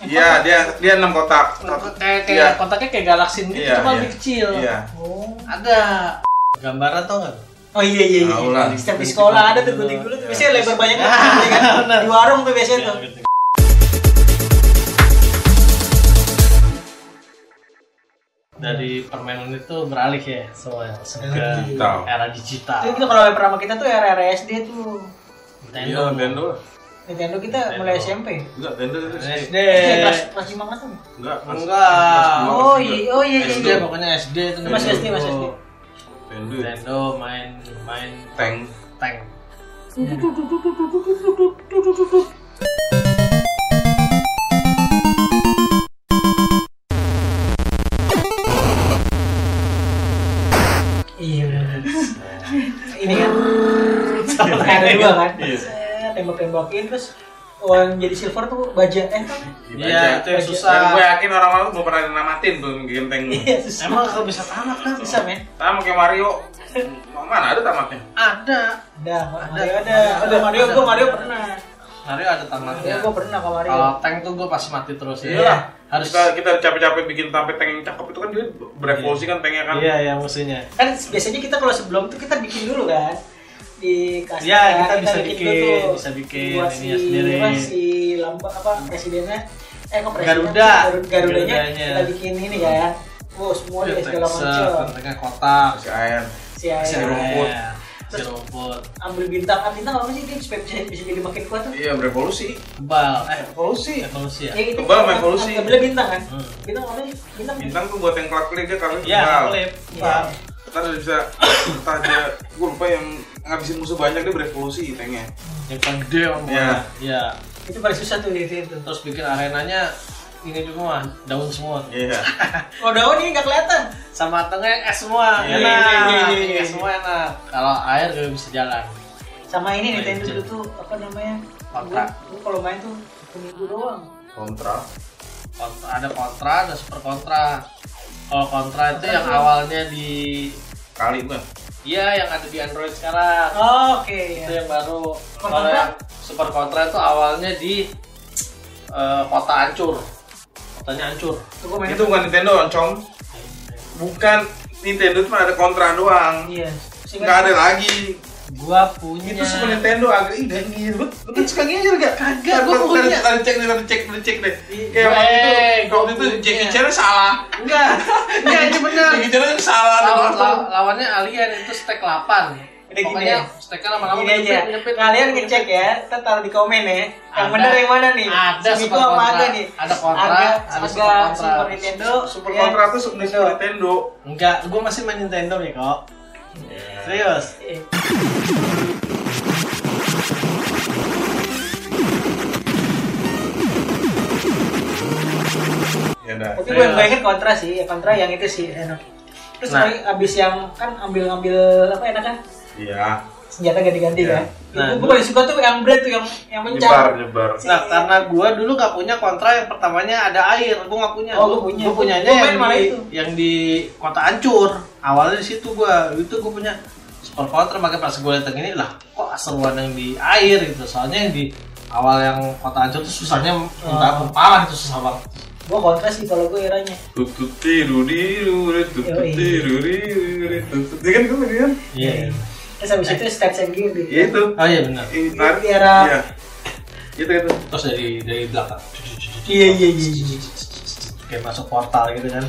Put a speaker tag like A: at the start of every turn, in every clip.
A: Iya, dia dia enam kotak.
B: kayak
A: Iya.
B: kayak kotaknya kayak galaksin gitu
A: Iya,
B: cuma
A: iya.
B: lebih kecil
A: Iya.
B: oh
C: Ada gambaran tau nggak?
B: oh iya iya iya
A: Tahu lah.
B: setiap di sekolah ada tuh gunting dulu tuh biasanya lebar banyak banget ya kan? di warung tuh biasanya
C: Iya.
B: tuh
C: Dari permainan itu beralih ya soalnya
D: Era
C: sudah
D: digital.
A: Tahu.
C: era digital.
B: itu kalau yang pertama Iya, kita kan- tuh era era SD tuh
A: Iya,
C: Nintendo.
A: Nintendo.
B: Nintendo kita
C: Nintendo.
B: mulai SMP
A: Enggak, Nintendo itu sih.
C: SD.
B: Eh, kelas kelas lima kan tuh
A: Enggak, pas-
C: Enggak.
A: pas dua,
B: oh
A: pas tiga.
B: iya oh iya iya
C: SD
B: iya
C: pokoknya SD itu
B: Itu masih SD,
C: Nintendo.
B: masih SD.
A: Nintendo.
C: Nintendo main main
A: Tank.
C: tank.
B: iya ini kan ada dua kan
A: Iya.
B: tembak tembakin terus Uang jadi silver tuh baja eh
C: Iya, itu yang
B: Baja.
C: susah.
A: Dan gue yakin orang-orang tuh mau pernah namatin tuh game tank.
B: iya susah
C: Emang kalau bisa tamat kan?
B: susah men
A: Tamak kayak Mario. Mana ada tamaknya?
C: Ada.
B: ada Mario ada
C: Ada.
B: ada Mario
C: Ada.
B: gua Mario pernah
C: Mario ada
B: Mario
C: tamatnya.
B: Iya, gua pernah ke Mario
C: Kalau tank tuh gue pasti mati terus ya.
A: Iya.
C: Harus
A: Kita kita capek-capek bikin sampai tank yang cakep itu kan dia berevolusi kan tanknya kan.
C: Iya, ya musuhnya.
B: kan biasanya kita kalau sebelum tuh kita bikin dulu kan di kasih
C: Iya,
B: kan,
C: kita bisa
B: dulu
C: bikin,
B: tuh.
C: bisa bikin
B: Buat
C: ininya sendiri.
B: apa, si lamba apa presidennya eh kok presiden
C: Garuda.
B: Garu- garudanya
C: Garudanya. Iya,
B: kita bikin ini kan wow semua deh segala macam
C: Texas, tengah kotak.
A: Si Iron.
B: si Ayah
C: Si
A: rumput.
C: rumput. Si rumput.
B: ambil bintang ah, bintang apa sih dia supaya bisa, bisa jadi makin kuat tuh
A: Iya, berevolusi.
C: Kebal. Eh,
A: Evolusi.
C: evolusi ya?
B: ya gitu
A: Kebal sama evolusi.
B: ambil bintang kan
C: Hmm.
B: bintang apa sih bintang
A: Bintang tuh buat yang klik-klik dia kalau
C: Iya,
A: kebal.
C: klip.
B: Iya.
A: Ntar dia bisa entah dia gue lupa yang ngabisin musuh banyak dia berevolusi tanknya.
C: Yang paling gede om.
A: Iya.
C: Iya.
B: itu paling susah tuh di situ
C: Terus bikin arenanya ini cuma daun semua.
A: Iya.
B: oh daun ini nggak kelihatan
C: Sama tengah es semua.
A: Iya,
C: Enak.
B: iya, iya, iya, iya.
C: Es semua enak. Kalau air gak bisa jalan.
B: sama ini nih
C: Main
B: Nintendo
C: jam.
B: dulu tuh apa namanya
C: Kontrak.
B: Gua- gua kalau main tuh seminggu doang
A: Kontra.
C: Kont- ada kontra, ada super kontra. Kalau kontra itu yang awalnya di
A: Kali banget.
C: Iya, yang ada di Android sekarang.
B: Oh, oke ya.
C: itu yang baru
B: Super
C: kalau
B: Contra?
C: yang super kontra itu awalnya di eh, kota hancur kotanya hancur
B: Tuh gua main
C: Gitu.
A: Itu bukan Nintendo, Oncom. Bukan Nintendo cuma ada kontra doang.
B: Iya.
A: Nggak ada lagi.
C: gua punya
A: Itu Super Nintendo Iya. agak ih gak ngir. Lu lu kan suka ngir gak? Ntar-
C: Kagak, gua
A: ntar-
C: punya.
A: Ntar dicek nih, ntar dicek, ntar dicek deh. Kayak
C: Eh,
A: waktu itu,
C: gua
A: waktu itu
C: punya.
A: Jackie Chan salah.
C: enggak enggak ini benar
A: Jackie Chan yang Iya, salah.
C: Lawan, law- lawannya alien itu stack 8
B: Udah gini ya.
C: pokoknya stacknya lama-lama
B: Gini aja.
C: menyempit, menyempit,
B: Kalian
C: menyempit.
B: ngecek ya, ntar taruh di komen ya. Yang
C: Ada.
B: bener yang mana nih?
C: Ada
B: Sini
C: super
B: gua sama
C: kontra.
B: ada nih.
C: Ada kontra, ada super
B: Aga,
C: kontra.
B: Super Nintendo,
A: Super
B: ya.
A: kontra tuh Super Nintendo.
C: enggak gua masih main Nintendo nih kok Iya. serius
B: Eh,
A: Ya udah.
B: Tapi gue yang gue inget kontra sih, ya, kontra yang itu sih enak. Terus
C: Iya. Nah.
B: tadi abis yang kan ambil-ambil apa enak kan?
A: Iya.
B: Senjata ganti-ganti
A: Iya.
B: kan?
C: Nah,
B: Nah, gue paling suka tuh yang bread tuh yang yang
A: Nyebar,
B: mencar.
A: nyebar.
C: Nah, karena gua dulu gak punya kontra yang pertamanya ada air, gua gak punya.
B: Oh, lu
C: Gua-
B: punya.
C: Gua punyanya
B: Gua main
C: yang
B: malah
C: di,
B: itu.
C: yang di kota hancur. Awalnya di situ gua, itu gua punya super kontra makanya pas gua datang ini lah, kok seruan yang di air gitu. Soalnya yang di awal yang kota hancur tuh susahnya
B: Ah.
C: minta ampun, parah itu susah banget.
B: Gue kontra sih kalau gue eranya.
A: Tutut tiru diru rit, tutut
B: Yoi.
A: tiru diru rit, tutut. Dia kan gue tadi kan?
C: Iya.
B: Terus abis itu stats and gear gitu.
A: Ya itu.
C: Oh iya benar.
A: Ini tarik.
B: Ini era.
A: Iya. Itu itu.
C: Terus dari dari belakang.
B: Iya iya iya. iya.
C: Kayak masuk portal gitu kan.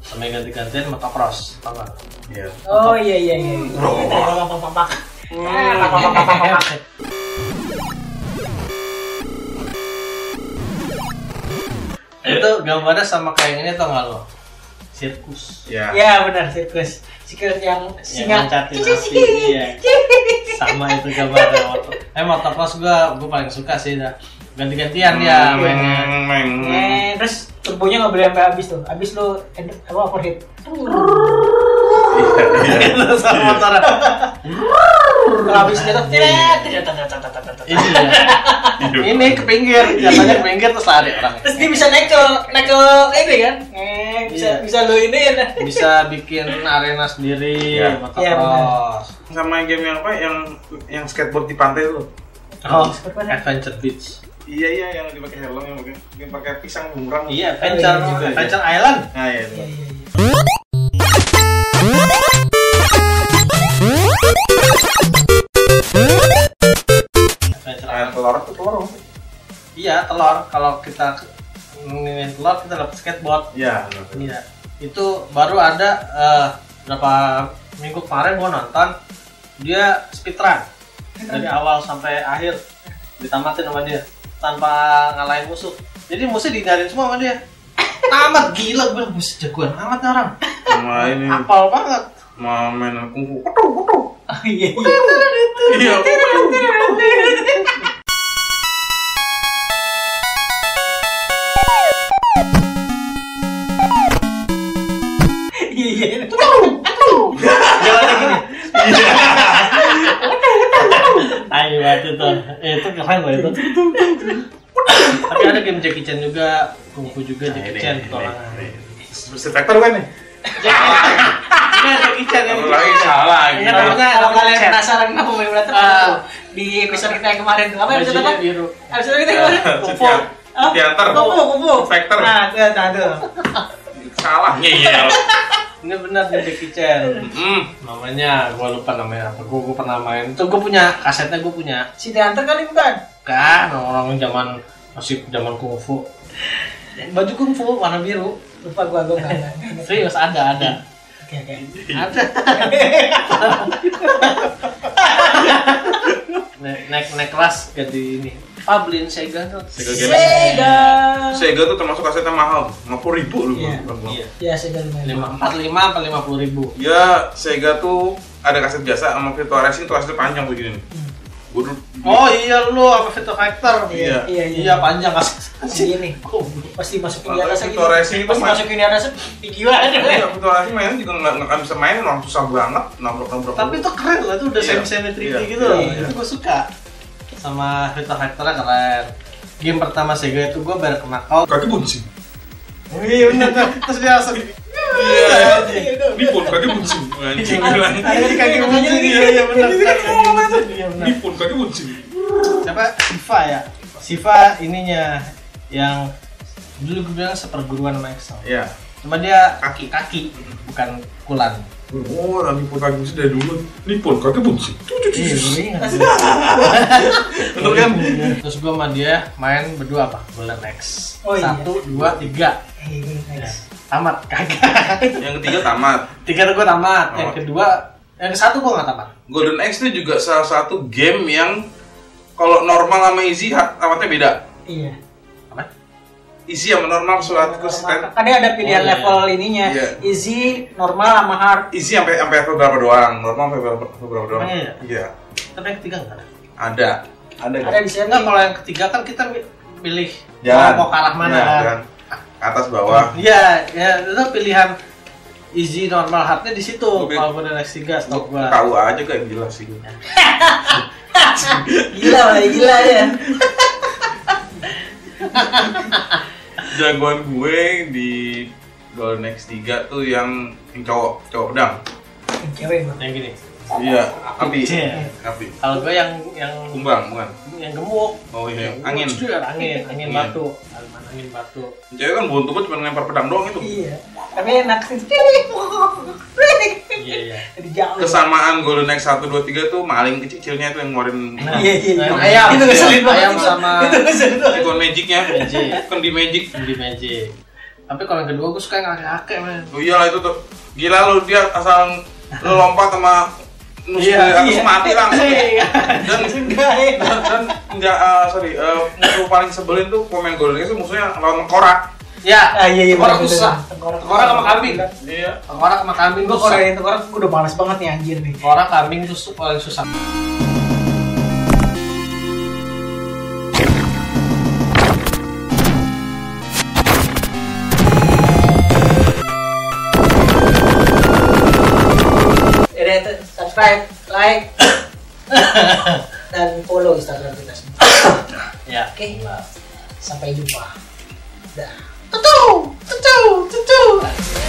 C: Sampai ganti-gantian motocross, tau gak?
A: Iya.
B: Oh iya iya iya.
A: Bro.
B: Pak
A: Iya.
C: itu gambarnya sama kayak ini tau gak lo? Sirkus.
A: Iya.
B: Ya benar sirkus. Sirkus yang singa.
C: ngancatin
B: Cici,
C: api,
B: cici.
C: iya. sama itu gambarnya motor eh motocross gua gua paling suka sih dah ganti-gantian ya mainnya
A: Meng, meng,
C: Iya,
A: meng.
B: Eh, terus turbonya nggak boleh sampai habis tuh. Habis lu end apa overheat.
C: Lu sama motornya
B: Kalau habis jatuh tidak tidak
C: iya ini ke pinggir jatuhnya ke pinggir terus lari orang
B: Terus dia bisa naik ke naik ke ini kan? Eh, bisa
C: Iya.
B: bisa lu ini ya.
C: bisa bikin arena sendiri
A: Iya.
B: Iya,
C: motocross
A: Sama yang game yang apa? Yang yang skateboard di pantai tuh.
C: oh
B: Seperti mana?
C: adventure beach
A: Iya iya yang dipakai helm yang mungkin yang pakai pisang bumerang.
C: Iya, Adventure,
A: Gitu aja.
C: Adventure Island.
A: Nah iya.
B: Iya, iya, iya.
C: Adventure
A: Air
C: Island.
A: telur tuh telur. apa sih?
C: Iya, telur. Kalau kita nginin telur, kita dapat skateboard.
A: Iya. benar.
C: Iya. Itu baru ada eh, berapa minggu kemarin gua nonton dia speedrun dari awal sampai akhir ditamatin sama dia tanpa ngalahin musuh. Jadi musuh dihindari semua sama dia. Tamat gila gue bisa jagoan amat nih orang.
A: Sama ini
C: Apal banget.
A: sama main kungfu.
B: Oh, iya,
A: Iya.
B: iya. Iya, iya, iya.
C: Jalannya gini.
A: Iya.
C: Ayo banget itu. Eh, Itu keren loh itu. Tapi ada game Jackie Chan juga, kungfu juga
A: Nah,
C: Jackie
A: ini,
C: Chan
A: ini,
C: petualangan.
A: ini. Street Fighter kan nih?
C: Ini Jackie Chan yang
A: Kalau lagi salah gitu. lagi.
C: Iya, kalau nggak-
B: Kalau kalian
C: Chat.
B: penasaran kenapa main berantem
C: Ah.
B: itu di episode kita yang kemarin apa episode apa?
C: Bajunya biru.
B: Episode kita yang kemarin
A: Kupu.
B: Apa?
A: Teater.
B: Kupu, kupu.
A: Factor.
B: Nah, tuh, nah, tuh.
A: Salah ngeyel.
C: Ini benar nih Jackie Chan.
A: Hmm.
C: Namanya gua lupa namanya apa. Gua, gua pernah main. Itu gua punya kasetnya gua punya.
B: Si Hunter kali bukan?
C: Kan orang zaman masih zaman kungfu. Baju kungfu warna biru.
B: Lupa gua gua nggak.
C: Serius ada ada.
B: Oke, oke.
C: Ada. naik, naik naik kelas ganti ini. Pablin Sega tuh.
A: Sega
B: Sega.
A: Sega tuh termasuk kasetnya mahal, 50 ribu lu
B: Iya.
A: Iya.
B: Ya, Sega lumayan.
C: Lima empat lima apa lima puluh ribu.
A: Ya, Sega tuh ada kaset biasa sama virtual racing tuh kasetnya panjang begini. nih. Gua dulu
C: Oh iya lu apa Vito Factor?
A: Iya.
B: Iya,
C: Iya panjang kas.
B: Segini. Pasti masukin di
A: Mantap,
B: atas
A: itu
B: lagi.
A: racing itu
B: Pasti
A: mah-
B: masukin di atas pikiran.
A: Iya, virtual racing mainnya juga nggak nggak bisa main, orang susah banget, nabrak-nabrak.
C: Tapi itu keren lah itu udah
A: Iya.
C: semi semi 3D
A: Iya.
C: gitu loh.
B: Iya.
C: Itu gue suka. Sama Vito Factor keren. Game pertama Sega itu gue bareng ke Makau.
A: kaki buncing.
C: Iya bener tuh. Terus dia langsung
A: Dipun kaki buncing. Anjing bilang.
C: ada di kaki kucing. Iya iya bener. Iya bener.
A: Dipun kaki buncing.
C: siapa Siva ya Siva ininya yang dulu gue bilang seperguruan sama Excel
A: Iya.
C: cuma dia
A: Kaki.
C: kaki bukan kulan
A: Oh, orang dipun kaki buncing dari dulu. Dipun kaki buncing.
C: Iya, gue ingat.
A: Bener kan?
C: terus gue sama dia main berdua apa bulan X
B: Oh, iya.
C: satu dua tiga
B: Iya, iya, iya.
C: tamat kagak
A: Yang ketiga tamat.
C: tiga gue tamat yang
A: Tamat.
C: kedua yang ke satu gue nggak tamat
A: Golden Axe itu juga salah satu game yang kalau normal sama easy ha- tamatnya beda.
B: Iya.
C: apa
A: Easy sama normal suatu konsisten.
B: Kadang ada pilihan
C: Oh, iya.
B: level ininya
A: Iya.
B: easy, normal, sama hard.
A: Easy sampai sampai level berapa doang, normal sampai berapa, sampai berapa doang.
C: Emang iya?
A: Iya,
C: tapi yang ketiga nggak ada
A: ada. Ada
B: Ada
A: nggak?
B: di setting.
C: enggak kalau yang ketiga kan kita mi- pilih
A: Jalan.
C: mau ke arah mana
A: Iya,
C: kan
A: jalan. Ke Atas bawah.
C: Iya, ya itu pilihan easy normal hardnya di situ.
A: Oke.
C: Kalau gue next tiga stok
A: Lu
C: gua.
A: Tahu aja kayak gila sih.
B: Gila, Bay, gila ya.
A: Jagoan gue di Golden Axe 3 tuh yang, yang cowok, cowok pedang.
B: Cewek Bang.
C: Yang gini.
A: Iya, api.
C: Iya.
A: Api.
C: Kalau gue yang yang
A: Kumbang, bukan?
C: yang gemuk.
A: Oh iya,
C: Yang
A: angin.
C: gemuk juga, angin, angin
A: Angin.
C: batu. Alman angin batu.
A: Cewek kan buntu gue cuma lempar pedang doang itu.
B: Iya. Tapi enak sih.
C: Iya, iya.
B: Dari jauh.
A: kesamaan Golden Axe 1, 2, 3 tuh maling kecil-kecilnya tuh yang ngeluarin
C: Nah,
B: Iya, iya.
C: ayam,
A: iya.
C: ayam,
B: Itu ngeselin banget.
C: ayam sama
B: Itu ngeselin banget.
A: ikon magicnya
C: Magic.
A: kan di magic
C: di magic. Tapi kalau yang kedua gue suka yang kakek-kakek men.
A: oh iyalah itu tuh gila lu dia asal lu lompat sama nusuk
C: Iya,
A: dari atas
B: iya.
A: mati langsung
C: Iya.
A: dan
B: Enggak, eh.
A: dan, dan enggak eh, sorry eh, musuh paling sebelin tuh pemain Golden Axe tuh musuhnya lawan korak
C: Ya.
B: Ah, iya, iya.
C: Tengkorak
B: bener, bener.
C: susah.
B: Tengkorak.
C: Tengkorak sama kambing.
A: iya
C: Tengkorak sama kambing
B: Gue
C: susah.
B: koreain tengkorak, gue udah males banget nih anjir nih.
C: Tengkorak kambing tuh su- paling susah.
B: Jadi Ya subscribe, like, dan follow Instagram kita semua.
C: Ya.
B: Oke.
C: Nah.
B: Sampai jumpa. Dah. Tutu, tutu, tutu.